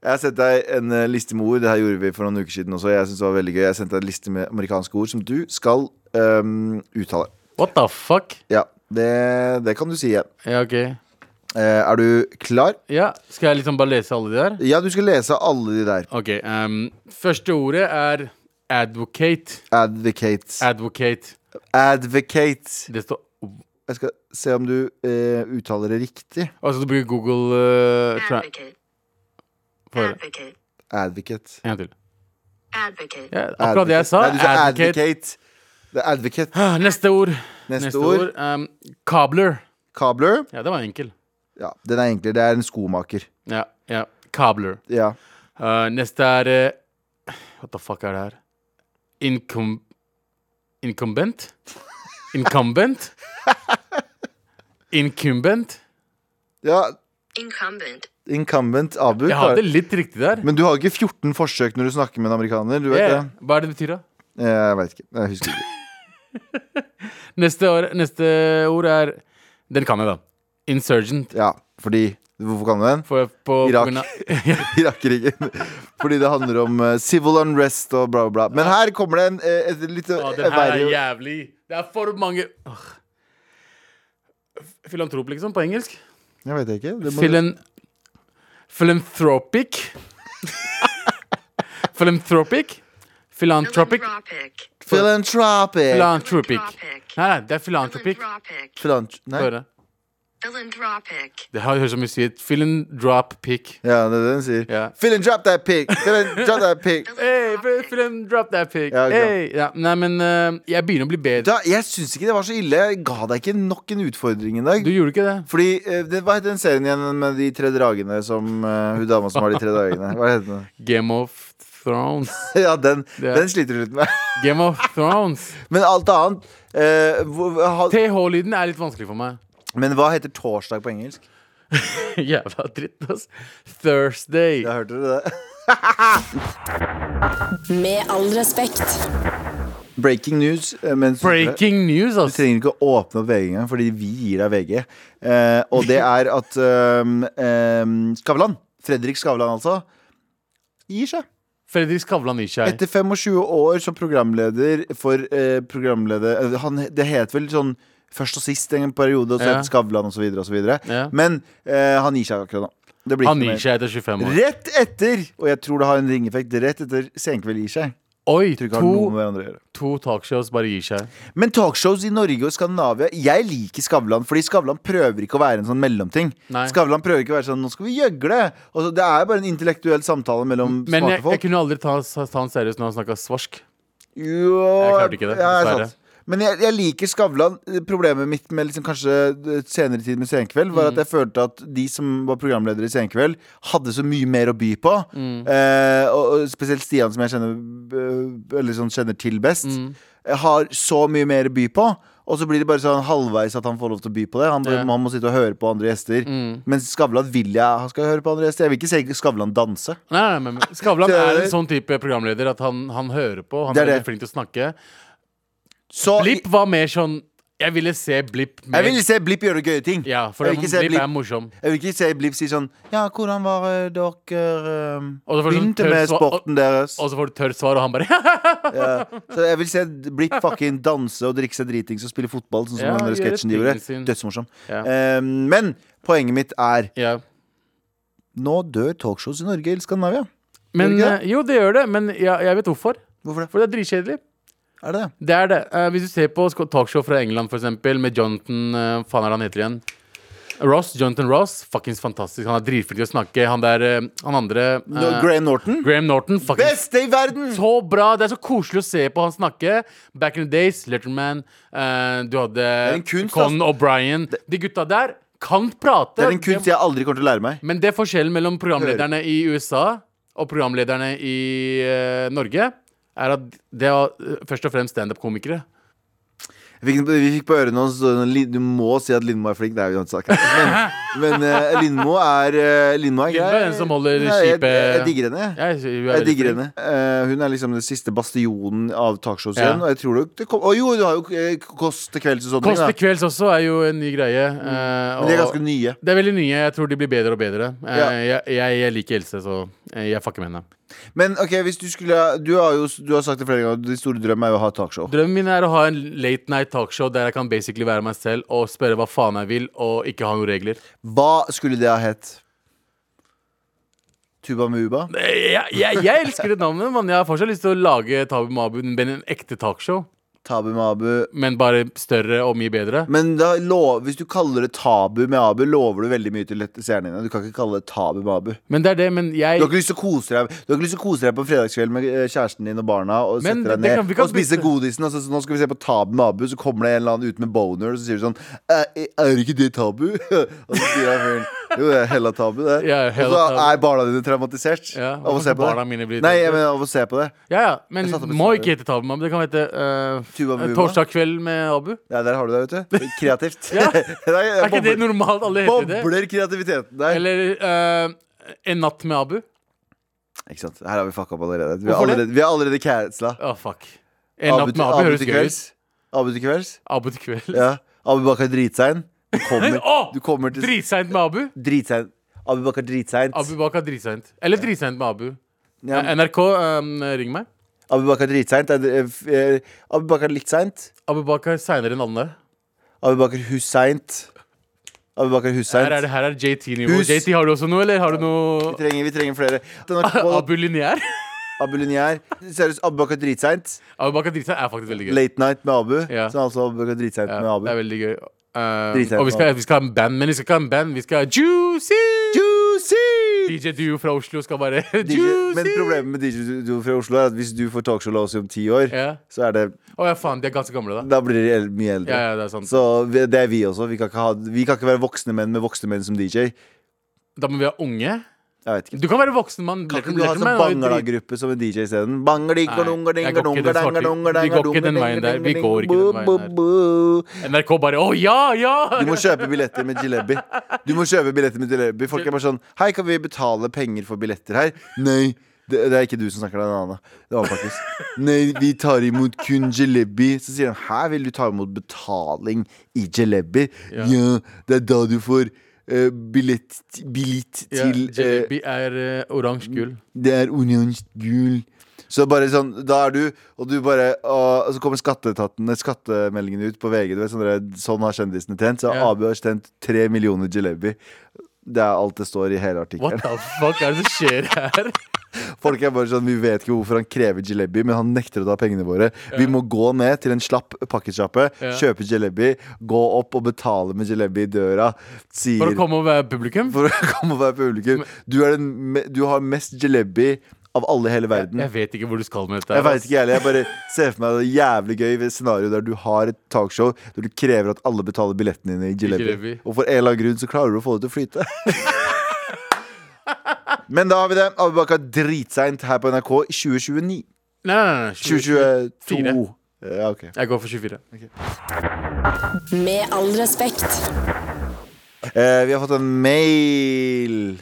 Jeg har sendt deg en eh, liste med ord. Det her gjorde vi for noen uker siden også. Jeg synes det var veldig gøy Jeg sendte deg en liste med amerikanske ord som du skal ehm, uttale.
What the fuck?
Ja, det, det kan du si igjen.
Ja, ok.
Eh, er du klar?
Ja, skal jeg liksom bare lese alle de der?
Ja, du skal lese alle de der.
Ok, ehm, første ordet er advocate.
Advocate.
Advocate.
Advocate.
Det står
Jeg skal se om du eh, uttaler det riktig.
Altså, du bruker Google uh, tra
Advocate.
Få høre.
Advocate.
Advocate.
En gang til.
Advocate.
Ja, akkurat det jeg sa.
Nei, du sa
Advocate.
advocate. Det er advocate.
Ah, Neste ord.
Neste,
Neste
ord.
ord. ehm, kabler.
Kabler.
Ja, det var enkel.
Ja, den er enklere. Det er en skomaker.
Ja, ja. Kabler.
Ja.
Eh, neste er eh, What the fuck er det her? Incum... Incumbent? Incumbent? Incumbent?
ja.
Incumbent.
Incumbent Abu.
Jeg hadde litt riktig der.
Men du har ikke 14 forsøk når du snakker med en amerikaner. Du vet
Ja, ja. Hva er det det betyr, da?
det? Jeg veit ikke. Jeg husker ikke.
Neste, år, neste ord er Den kan jeg, da. Insurgent.
Ja, fordi Hvorfor kan du den?
For, på, på
Irak.
grunn av- ja,
Irakkrigen. Fordi det handler om eh, civil unrest og bla, bla. bla. Men her kommer det en, eh, et litt
å,
eh,
den her er
verre
jævlig. Det er for mange Åh. Filantrop, liksom, på engelsk.
Jeg vet ikke. Det må...
Filan... Philanthropic. Philanthropic. Philanthropic.
Philanthropic.
Philanthropic.
Philanthropic. Nei, nei, det er philanthropic.
Philanthropic.
Philant- Nei.
Høre.
Philanthropic.
Det her høres ut som musikk. Philandrop-pic.
Ja, det er det den sier.
Ja.
Fill and drop that pig! Fill and drop that pig!
Hey, philandrop that pic.
Ja, ok.
Hey. Ja, nei, men eh, jeg begynner å bli bedre.
Da, jeg syns ikke det var så ille. Jeg ga deg ikke nok en utfordring i dag.
Du gjorde ikke det.
Fordi, eh, det, Hva heter den serien igjen med de tre dragene som eh, Hun dama som har de tre dragene. Hva heter den?
Game of Thrones.
Ja, den,
Det er-
den sliter du litt med.
Game of Thrones.
Men alt annet eh, hvor- ha,
TH-lyden er litt vanskelig for meg.
Men hva heter torsdag på engelsk?
Jævla dritt, ass. Thursday.
Da hørte dere det.
Med all respekt.
Breaking news. eh, mens du-
Breaking news,
Du
ass.
trenger ikke å åpne opp VG engang, fordi vi gir deg VG. Eh, og det er at ehm, ehm, Skavlan, Fredrik Skavlan altså, gir seg.
Fredrik Skavlan gir seg.
Etter 25 år som programleder for eh, programleder eh, han, Det het vel sånn først og sist en periode, og så
Ja.
het Skavlan osv. videre
Ja.
Men eh, han gir seg akkurat nå. Det blir
Han
ikke noe
gir
mer.
seg etter 25 år.
Rett etter, og jeg tror det har en ringeffekt, rett etter Senkveld gir seg.
Oi,
Tror ikke det har noe med
to,
hverandre å gjøre.
to talkshows bare gir seg.
Men talkshows i Norge og Skandinavia Jeg liker Skavlan, fordi Skavlan prøver ikke å være en sånn mellomting.
Nei.
Skavlan prøver ikke å være sånn 'nå skal vi gjøgle'. Altså, det er bare en intellektuell samtale mellom
Men
smarte
jeg, jeg
folk.
kunne aldri ta, ta han seriøst når han snakka svorsk.
Jo,
Jeg klarte ikke det,
ja, er
dessverre.
sant. Men jeg, jeg liker Skavlan. Problemet mitt med liksom kanskje eh, senere tid med Senkveld, var
Mm.
at jeg følte at de som var programledere i Senkveld, hadde så mye mer å by på.
Mm. Mm.
Eh, og, og spesielt Stian, som jeg kjenner, eh, eller sånn, kjenner til best. har så mye mer å by på. Og så blir det bare sånn halvveis at han får lov til å by på det. Han,
Ja. Mm.
han må sitte og høre på andre gjester. Mens Skavlan vil jeg han skal høre på andre gjester. Jeg vil ikke se Skavlan danse.
Nei, nei, men Skavlan
Det
er
er-
en sånn type programleder at han, han hører på. Han
Det er
er, veldig
det.
flink til å snakke.
Så
Blipp var mer sånn Jeg ville se Blipp mer.
jeg vil se Blipp gjøre gøye ting.
Ja, for
jeg,
det,
vil ikke se
Blipp
Blipp,
er morsom.
jeg vil ikke se Blipp si sånn Ja, hvordan var eh, dere um,
Og så får du sånn
Begynte
tørt
med
svar-
sporten deres.
Og så får du tørt svar, og han bare
Ja. Så jeg vil se Blipp fucking danse og drikke seg dritings og spille fotball, sånn som
Ja,
den der
gjøre
sketsjen de gjorde.
tingen sin.
Dødsmorsom.
Ja.
Eh, men poenget mitt er
ja.
nå dør talkshows i Norge eller Skandinavia. Gjør
Men,
det ikke
eh, jo, det gjør det, men jeg, jeg vet hvorfor.
Hvorfor det?
For det er dritkjedelig.
Er det det?
Det er det. Eh, hvis du ser på sk- talkshow fra England, for eksempel, med Jonathan uh, Faen, er det han heter igjen? Ross. Jonathan Ross. Fuckings fantastisk. Han er dritflink til å snakke. Han der eh, Han andre eh,
Nå, Graham Norton?
Graham Norton. Fuckings
Beste i verden!
så bra! Det er så koselig å se på han snakke. Back in the days, Letterman, eh, du
en
hadde
kunst,
Con O'Brien. De gutta der kan prate.
Det er en kunst jeg aldri kommer til å lære meg.
Men det er forskjellen mellom programlederne i USA og programlederne i eh, Norge, er at det er eh, først og fremst standup-komikere.
Vi fikk, vi fikk på ørene hans sånn, Lin- Du må si at Lindmo er flink. Det er jo ikke sagt. Men, men eh, Lindmo er eh, Lindmo er grei.
Lindmo er den som holder
Nei, jeg- Jeg,
skipet-
jeg digger henne. jeg.
Jeg, jeg,
Jeg digger henne. Eh, hun er liksom den siste bastionen av talkshows igjen.
Ja.
Og jeg tror det, det kom, Å jo, du har jo eh, Kåss til kvelds og sånne
Kåss til
ting. da.
kvelds også er jo en ny greie. eh,
Mm. Men de er
og-
ganske nye.
det er veldig nye. Jeg tror de blir bedre og bedre. Eh,
Ja.
jeg, jeg, jeg liker Else, så eh, jeg fucker med henne.
Men ok, hvis du skulle Du har jo du har sagt det flere ganger, din store drøm er jo å ha et talkshow.
Drømmen min er å ha en late night talkshow der jeg kan basically være meg selv og spørre hva faen jeg vil, og ikke ha noen regler.
Hva skulle det ha hett? Tuba Muba?
Jeg, jeg, Eh, jeg elsker det navnet, men jeg har fortsatt lyst til å lage Tabu Mabu men en ekte talkshow.
Tabu med Abu?
Men bare større og mye bedre.
Men da, lov, hvis du kaller det tabu med Abu, lover du veldig mye til seerne dine. Du kan ikke kalle det tabu med Abu.
Men det er det, men
Du
jeg
har ikke lyst til å kose deg Du har ikke lyst til å kose deg på en fredagskveld med eh, kjæresten din og barna og
Men
sette deg
det
ned
kan- vi kan
og spise
bytte.
godisen. Og så, så nå skal vi se på tabu med Abu, så kommer det en eller annen ut med boner, og så sier du sånn «Æ, Er ikke det tabu? og så sier han fyren Jo, det er hella tabu, det.
Ja, hella
og så
tabu.
er barna dine traumatisert
Ja,
av å
hvorfor
se
skal
på
barna mine
det.
bli
Nei, jeg mener av å se på det.
Ja, ja, men
Jeg satte opp et
må
svar.
ikke hete Tabu Mabu. Det kan hete eh,
Tuba Muba.
Torsdag kveld med Abu.
Ja, der har du det, vet du. Kreativt.
Ja.
Nei,
Er ikke det
bobler-
normalt? Alle heter det.
Bobler kreativiteten der.
Eller eh, En natt med Abu.
Ikke sant? Her har vi fucka opp allerede. Vi har
Hvorfor det?
allerede, vi har allerede cancela.
Å, fuck. En natt med Abu høres
til
gøy ut.
kvelds. Abu til kvelds.
Abu til kvelds.
Ja. Abu Bakar Dritsein. Du kommer,
Å!
du kommer til
Dritseint med Abu.
Dritsein. Abu Bakar Dritseint.
Abu Bakar dritseint. Eller dritseint med Abu.
Ja.
Eh, NRK, eh, ring meg.
Abu Bakar Dritseint er eh, f- eh, Abu Bakar litt seint.
Abu Bakar seinere enn alle.
Abu Bakar Husseint. Abu Bakar
Her er,
Husseint.
det, her er JT-nivå.
Hus-
JT, har du også noe, eller har du
Vi
noe
trenger, vi trenger flere. Den har ikke på
Abu Lineær?
Abu Lineær. Seriøst, Abu Bakar Dritseint.
Abu Bakar dritseint er faktisk veldig gøy.
Late Night med Abu.
Ja.
Så altså Abu Bakar Dritseint
Ja,
med Abu.
Det er veldig gøy. Eh,
Dritseint
og vi skal,
med
vi skal ha en band, men vi skal ikke ha en band. Vi skal ha Juicy!
Juicy!
DJ Duo fra Oslo skal bare
DJ,
Juicy!
men problemet med DJ du fra Oslo er at hvis du får talkshow la oss si om ti år,
Ja.
så er det
Å ja, faen. De er ganske gamle, da.
Da blir de el- mye eldre.
Ja, ja, det er sant.
Så vi, det er vi også. Vi kan, ikke ha, vi kan ikke være voksne menn med voksne menn som DJ.
Da må vi ha unge.
Jeg vet ikke.
Du kan være voksen mann.
Kan ikke du ha sånn
Letterman var jo drit-
Bangla-gruppe som en DJ isteden? Bangla,
Nei, jeg går ikke den svarte- vi går ikke den veien der. Vi går ikke den veien der.
der.
NRK bare Å ja, ja!
Du må kjøpe billetter med Jalebi. Du må kjøpe billetter med Jalebi. Folk er bare sånn Hei, kan vi betale penger for billetter her? Nei. Det, det er ikke du som snakker, det er en annen. Det var faktisk Nei, vi tar imot kun jalebi. Så sier han hæ, vil du ta imot betaling i jalebi?
Ja.
Ja. det er da du får eh, billett, billett
ja
til eh,
Jalebi er eh, oransje gull.
det er oransje gul. Så bare sånn, da er du, og du bare ah, Og, og så kommer skatteetaten nei, skattemeldingen ut på VG. Du vet, sånn, der, sånn har kjendisene tjent. Så
Ja.
Abu har tjent tre millioner jalebi. Det er alt det står i hele
What
artikkelen.
the fuck er det som skjer her?
Folk er bare sånn, Vi vet ikke hvorfor han krever jalebi, men han nekter å ta pengene våre. Vi må gå ned til en slapp pakkesjappe,
Ja.
kjøpe jalebi, gå opp og betale med jalebi i døra. Sier
For å komme og være publikum?
for å komme og være publikum. Du, er den, me- du har mest jalebi av alle i hele verden.
Jeg vet ikke hvor du skal med dette.
Jeg
her,
vet ikke heller, jeg bare ser for meg det jævlig gøy ved et scenario der du har et talkshow der du krever at alle betaler billettene dine i
Jalebi.
Jalebi. Og for en eller annen grunn så klarer du å få det til å flyte. Men da har vi det. Abubakar dritseint her på NRK i 2029.
Nei, nei, nei, nei.
2022. Ja, ok.
Jeg går for 24.
Med all respekt.
Eh, vi har fått en mail.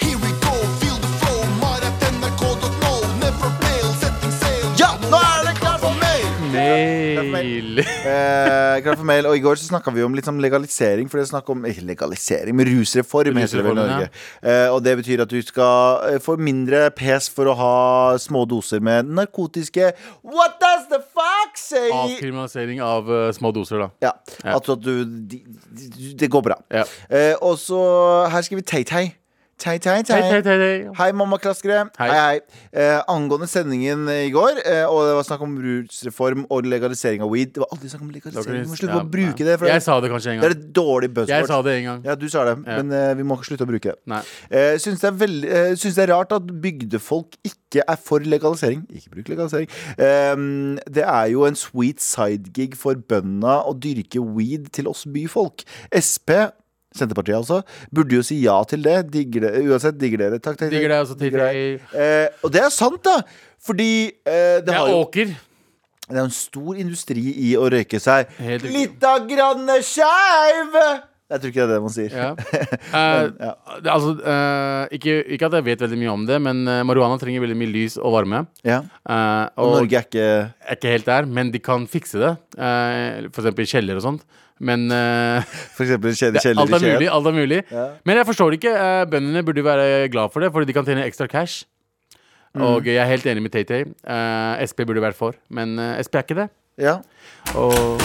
Here we go, feel the flow, maratnrk.no, never fail, setting sail.
Ja, nå er det klart for mail!
Mail.
Eh, klart for mail. Og i går så snakka vi om litt sånn legalisering. For det er snakk om ikke legalisering, men rusreform heter det vel i
Rusreformen,
Norge. Eh, og det betyr at du skal eh, få mindre pes for å ha små doser med narkotiske What does the fuck say?
Avkriminalisering av eh, små doser, da.
Ja, altså
Ja.
At, at du de- de- Det går bra.
Ja.
Eh, og så Her skriver Tei-Tei. Tei-Tei.
Hei, hei, hei, hei.
Hei, mammaklaskere. Hei,
Hei.
hei. Eh, angående sendingen i går, eh, og det var snakk om rusreform og legalisering av weed. Det var aldri snakk om legalisering. Vi må slutte
Ja,
å bruke
ja.
det. For
Jeg
det,
sa det kanskje en
det er
gang.
et dårlig
Jeg sa
buzzword.
det en gang.
Ja, du sa det,
Ja.
men eh, vi må ikke slutte å bruke det.
Nei.
Eh, syns, det er veld, eh, syns det er rart at bygdefolk ikke er for legalisering. Ikke bruk legalisering. Ehm, det er jo en sweet sidegig for bøndene å dyrke weed til oss byfolk. Sp, Senterpartiet altså, burde jo si ja til det. Digger det uansett, digger dere. Takk, takk, takk.
Digger det altså, også.
Digger deg.
TTI.
Eh, og det er sant, da! Fordi eh, det,
Det
har
er
jo,
åker.
det er en stor industri i å røyke seg.
Helt riktig.
Lita granne skeiv! Jeg tror ikke det er det man sier.
Ja. Eh, det- altså, eh, ikke, ikke at jeg vet veldig mye om det, men eh, marihuana trenger veldig mye lys og varme.
Ja.
Eh,
Og
og
Norge er ikke
er ikke helt der, men de kan fikse det. Eh, for eksempel i kjeller og sånt. Men eh,
for eksempel kjede
det,
kjeller
alt
i
er
Skien.
mulig. Alt er mulig. Men jeg forstår det ikke. Eh, bøndene burde være glad for det, fordi de kan tjene ekstra cash.
Mm.
Og jeg er helt enig med TT. Eh, SP burde vært for, men eh, SP er ikke det.
Ja.
Og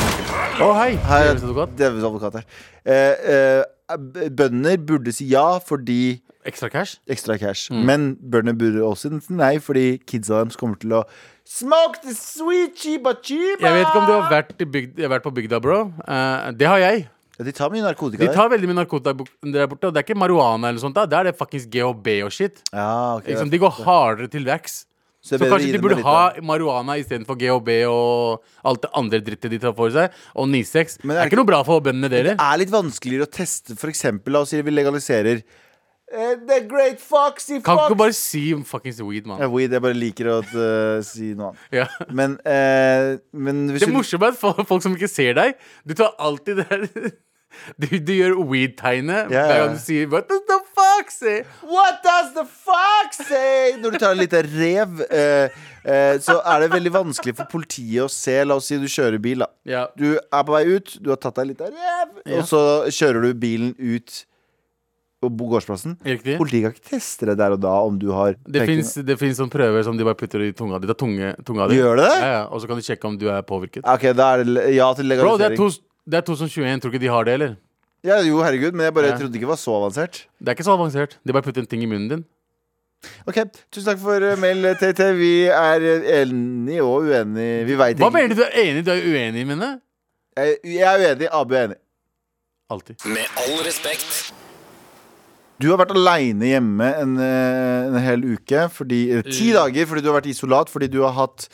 Å, hei!
Hei,
Djevelens advokat.
Djevelens advokat her. Eh, eh, b- bønder burde si ja fordi
Ekstra cash?
ekstra cash.
Mm.
Men bønder burde også si nei fordi kidsa deres kommer til å Smoke the sweet chiba chiba!
Jeg vet ikke om du har vært, i bygd, vært på bygda, bro. Eh, det har jeg.
ja, De tar mye narkotika
De
der.
tar veldig mye narkotika bok- der borte, og det er ikke marihuana eller sånt. da Det er det fuckings GHB og shit.
Ja, ok.
Liksom, de går hardere til verks.
Så det
Så
er bedre å gi
kanskje de
dem
burde
litt
ha
av-
marihuana istedenfor GHB og alt det andre drittet de tar for seg. Og Nisex.
Men
Det
er
er
det-
ikke noe bra for bøndene
Det
deres.
er litt vanskeligere å teste, for eksempel, la oss si vi legaliserer eh, The Great Foxy Fox.
Kan ikke bare si fuckings weed, mann.
ja, weed, jeg bare liker å eh, si noe annet.
Ja.
Men, eh, men hvis
Det
du-
morsomme er at fo- folk som ikke ser deg Du tar alltid det her Du, du gjør weed-tegnet
Ja, ja.
hver gang du sier What does the fuck say?
What does the fuck say? Når du tar en liten rev, eh, eh, så er det veldig vanskelig for politiet å se. La oss si du kjører bil, da.
Ja.
Du er på vei ut, du har tatt deg en liten rev,
Ja.
og så kjører du bilen ut på gårdsplassen.
Riktig.
Politiet kan ikke teste det der og da om du har
Det
pekende-
fins det finnes sånne prøver som de bare putter i tunga di. Det er tunge, tunga di.
Gjør det det?
Ja, ja. Og så kan du sjekke om du er påvirket.
Ok, da er det le- ja til
Bro,
legalisering.
det er, to, det er 2021. Tror ikke de har det, eller?
ja, jo, herregud, men jeg bare
Ja.
trodde ikke det var så avansert.
Det er ikke så avansert. De bare putter en ting i munnen din.
Ok, Tusen takk for eh, mail, TT. Vi er eh, enige og uenige. Vi veit
Hva
ikke.
mener du? Du er enig, du er uenig, mine?
Jeg jeg er uenig, Abu er enig.
Alltid.
Med all respekt.
Du har vært aleine hjemme en, eh, en hel uke, fordi, eh,
Mm.
ti dager, fordi du har vært isolat fordi du har hatt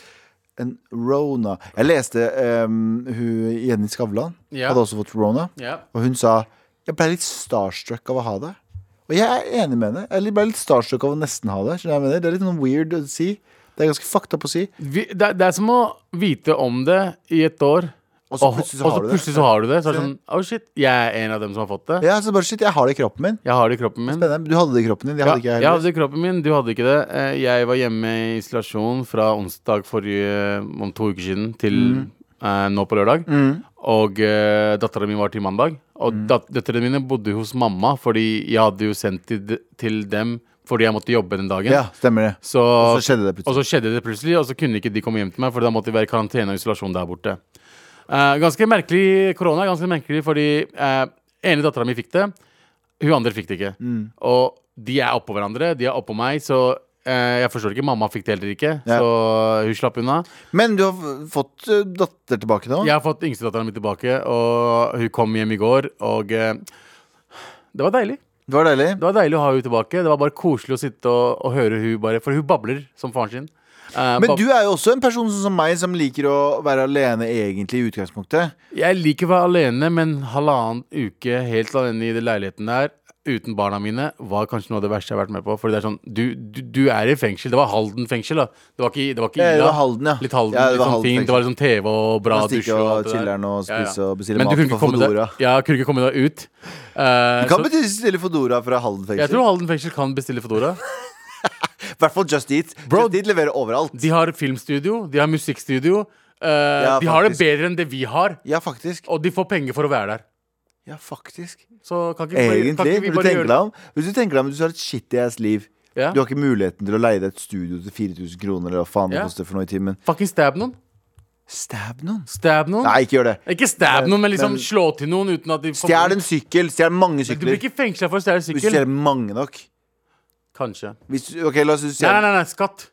en rona. Jeg leste um, hun Jenny Skavlan
Ja.
hadde også fått rona,
Ja.
og hun sa Jeg ble litt starstruck av å ha det. Og jeg er enig med henne. Eller jeg ble litt starstruck av å nesten ha det. Skjønner du hva jeg mener? Det er litt sånn weird å si. Det er ganske fucked up å si.
Vi, det, er- det er som å vite om det i et år,
Og så plutselig så
og
har
så
du det.
plutselig så har du det. Så er det sånn Oh shit, jeg er en av dem som har fått det.
Ja, så bare shit, jeg har det i kroppen min.
Jeg har det i kroppen min.
Spennende. Du hadde det i kroppen din. Det
Ja,
hadde ikke jeg
jeg
heller.
hadde det i kroppen min, du hadde ikke det. Eh, Jeg var hjemme i isolasjon fra onsdag forrige, om to uker siden til
Mm.
eh, nå på lørdag. Og uh, dattera mi var til mandag. Og
Mm.
dat døtrene mine bodde hos mamma, fordi jeg hadde jo sendt til, de- til dem fordi jeg måtte jobbe den dagen.
Ja, stemmer det.
Så,
Og så skjedde det plutselig.
og så skjedde det plutselig, og så kunne ikke de komme hjem til meg, for da måtte de være i karantene og isolasjon der borte. Eh, ganske merkelig korona, ganske merkelig fordi uh, ene dattera mi fikk det, hun andre fikk det ikke.
Mm.
Og de er oppå hverandre, de er oppå meg, så eh, jeg forstår ikke. Mamma fikk det heller ikke,
Ja.
så eh, hun slapp unna.
Men du har f- fått eh, datter tilbake nå?
Jeg har fått yngstedattera mi tilbake, og hun kom hjem i går, og eh, det var deilig.
Det var deilig.
Det var deilig å ha henne tilbake. Det var bare koselig å sitte og, og høre hun bare, for hun babler som faren sin. Eh,
Men
bab-
du er jo også en person sånn som meg, som liker å være alene egentlig i utgangspunktet.
Jeg liker å være alene, men halvannen uke helt alene i den leiligheten der uten barna mine var kanskje noe av det verste jeg har vært med på. Fordi det er sånn, du, du, du er i fengsel. Det var Halden fengsel, da. Det var ikke, det var ikke
Ja, det
Ila.
var Halden, ja.
Litt Halden,
Ja, det
litt
var
sånn
Halden
fint.
fengsel.
Det var liksom TV og bra
Man stikker
dusjer og
og
alt det der.
chiller'n og spiser og bestiller
Men du
mat
kunne ikke
på
komme deg-
Foodora.
Ja, kunne ikke komme deg ut. Eh,
Du kan
så-
bestille stille Fodora fra Halden
jeg
fengsel.
tror Halden fengsel kan bestille Fodora.
I hvert fall Just Eat.
Bro,
Just Eat leverer overalt.
De har filmstudio, de har musikkstudio. eh, de har det
faktisk.
bedre enn det vi har,
Ja, faktisk.
og de får penger for å være der.
Ja, faktisk.
Så kan ikke,
Egentlig.
kan ikke vi
Hvis du
bare
tenker
gjøre det?
deg om Hvis du tenker deg om Hvis du har et shitty ass liv.
Ja.
Du har ikke muligheten til å leie deg et studio til 4000 kroner eller hva faen det
Ja.
koster for noe i timen.
Fucking stab noen.
Stab noen.
Stab noen.
Nei, ikke gjør det.
Ikke stab noen, men liksom
Men-
slå til noen uten at de får
Stjel en sykkel. Stjel mange
Du blir
sykler.
ikke fengsla for å stjele
Hvis du
sykkel.
stjeler mange nok.
Kanskje.
Hvis, du- ok, la oss si du
Nei,
stjeler
nei, nei, nei, skatt.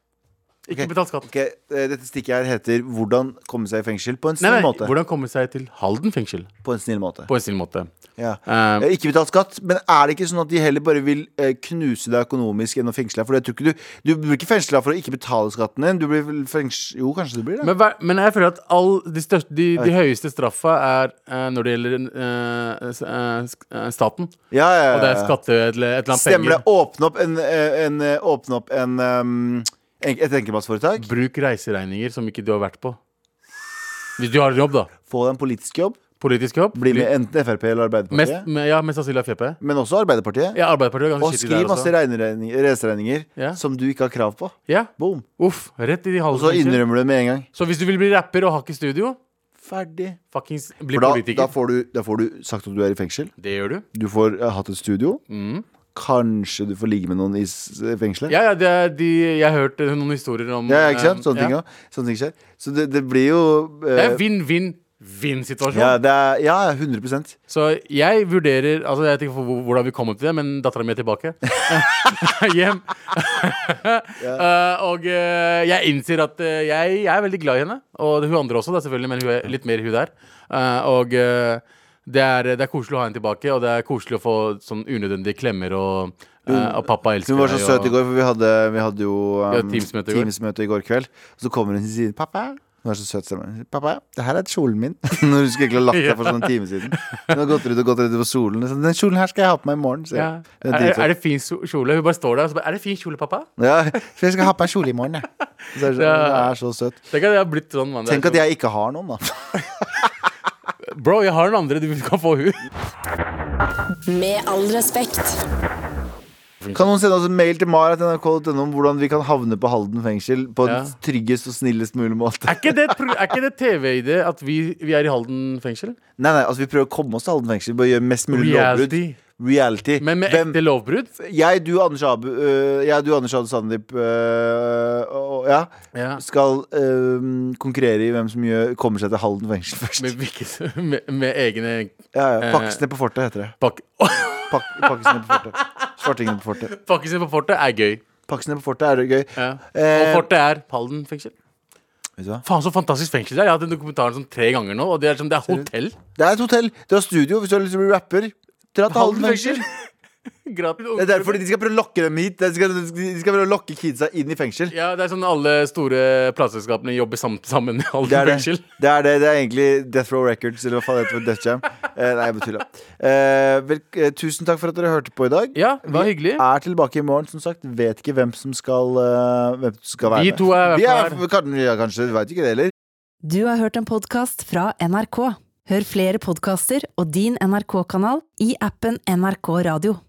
Ikke
Ok.
betal skatt.
Ok, eh, Dette stikket her heter 'Hvordan komme seg i fengsel på en
Nei,
snill
nei,
måte'.
hvordan komme seg til Halden fengsel?
På en snill måte.
På en snill måte.
Ja.
Eh,
Eh, Ikke betalt skatt, men er det ikke sånn at de heller bare vil eh, knuse deg økonomisk enn å fengsle deg? For jeg tror ikke du, du blir ikke fengsla for å ikke betale skatten din. Du blir vel fengs... Jo, kanskje du blir det.
men, hver- men jeg føler at all, de, største, de, de
vet.
høyeste straffa er eh, når det gjelder eh, s- eh, sk- eh, staten.
Ja, ja, ja,
Og det er
ja.
skatte et eller et eller annet
Eh. Stemmer det.
penger.
Åpne opp en, eh, en, eh, åpne opp en ehm, en- et enkeltmannsforetak.
Bruk reiseregninger som ikke du har vært på. Hvis du har en jobb, da.
Få deg en politisk jobb.
Politisk jobb.
Bli med enten Frp eller
mest,
Arbeiderpartiet.
med, ja, mest sannsynlig Frp.
Men også Arbeiderpartiet.
Ja, Arbeiderpartiet er
Og
ganske shitty
skriv
der
masse
også.
regneregninger, reiseregninger
Ja.
som du ikke har krav på.
Ja.
Boom.
Uff. Rett i de
Og så
halvfemsene.
innrømmer du det med en gang.
Så hvis du vil bli rapper og ha ikke studio,
Ferdig.
fuckings bli
For da,
politiker.
da, får du, da får du sagt at du er i fengsel.
Det gjør du.
Du får eh, hatt et studio. Kanskje du får ligge med noen i s- fengselet.
Mm. Ja, ja, det er de Jeg har hørt eh, noen historier om
Ja, ikke sant?
eh,
Sånne ting
ja.
også. Sånne ting skjer. Så det, det blir jo
Det
eh,
er vinn-vinn-vinn-situasjon.
ja, det er, ja, 100
Så jeg vurderer Altså, jeg vet ikke hvor- hvordan vi kommer til det, men dattera mi er tilbake. Hjem. Eh, og eh, jeg innser at eh, jeg, jeg er veldig glad i henne. Og hun andre også, da, selvfølgelig, men hun er litt mer hun der. Eh, og eh, det, er, det er koselig å ha henne tilbake, og det er koselig å få sånn unødvendige klemmer og, eh, og pappa elsker
Hun var så søt i går, for vi hadde, vi hadde jo um,
Ja, Teams-møte i går.
Teams-møte i går kveld. Og så kommer hun og sier 'pappa'. Hun er så søt stemme. 'Pappa, det her er kjolen min'. Når hun skulle egentlig ha lagt seg for sånn en time siden. Hun har gått rundt og gått rundt på solen. Så, 'Den kjolen her skal jeg ha på meg i morgen', sier
Ja.
hun.
Er,
Hun
er,
dritsøt.
er det fin so- kjole? Hun bare står der og så bare Er det fin kjole, pappa?
Ja, for jeg skal ha på meg kjole i morgen, jeg. Så er det sånn, hun er så søt.
Tenk at jeg har blitt sånn mann. Det er
Tenk at
så-
jeg ikke har noen, da.
Bro, jeg har den andre. Du kan få hun.
Med all respekt.
Kan noen sende oss en mail til mara.nrk.no om hvordan vi kan havne på Halden fengsel på
Ja.
den tryggest og snillest mulig måte?
Er ikke det, et pro- er ikke det TV-idé at vi, vi er i Halden fengsel?
Nei, nei, altså Vi prøver å komme oss til Halden fengsel. Bare gjøre mest mulig lovbrudd.
Reality.
Reality.
Men med
Hvem-
ekte lovbrudd?
jeg, du, Anders Abu øh, Jeg, du, Anders Abu Sandeep øh, og, ja,
Ja.
Skal øh, konkurrere i hvem som gjør, kommer seg til Halden fengsel først
Med, hvilke- med, med egne
ja, ja.
eh,
Pakkes ned på fortet heter det
pak
Pak, Pakkes ned på fortet Svartingen på fortet
Pakkisen på fortet er gøy.
Pakkes ned på fortet er jo gøy
Ja. Og
Eh,
fortet er Halden fengsel.
vet du hva?
Faen, så fantastisk fengsel det er. Jeg har hatt den dokumentaren sånn tre ganger nå, og det er, liksom, det er hotell.
Det er et hotell, du har studio Hvis du har lyst til å bli rapper Dra til Halden fengsel
Gratis.
Det er derfor de skal prøve å lokke dem hit De skal, de skal prøve å lokke kidsa inn i fengsel
Ja, det er sånn alle store plateselskapene jobber sam- sammen i Halden
Det er det.
fengsel.
Det er det. Det er egentlig Death Row Records, eller hva faen det heter for Death Jam. Eh, nei, jeg bare tulla. Eh, vel, eh, tusen takk for at dere hørte på i dag.
Ja, det var
Vi
hyggelig.
er tilbake i morgen, som sagt. Vet ikke hvem som skal, eh, hvem som skal være
Vi
med.
to er i hvert
Vi
fall her.
kanskje, ja, kanskje, du veit ikke det heller.
Du har hørt en podkast fra NRK. Hør flere podkaster og din NRK-kanal i appen NRK Radio.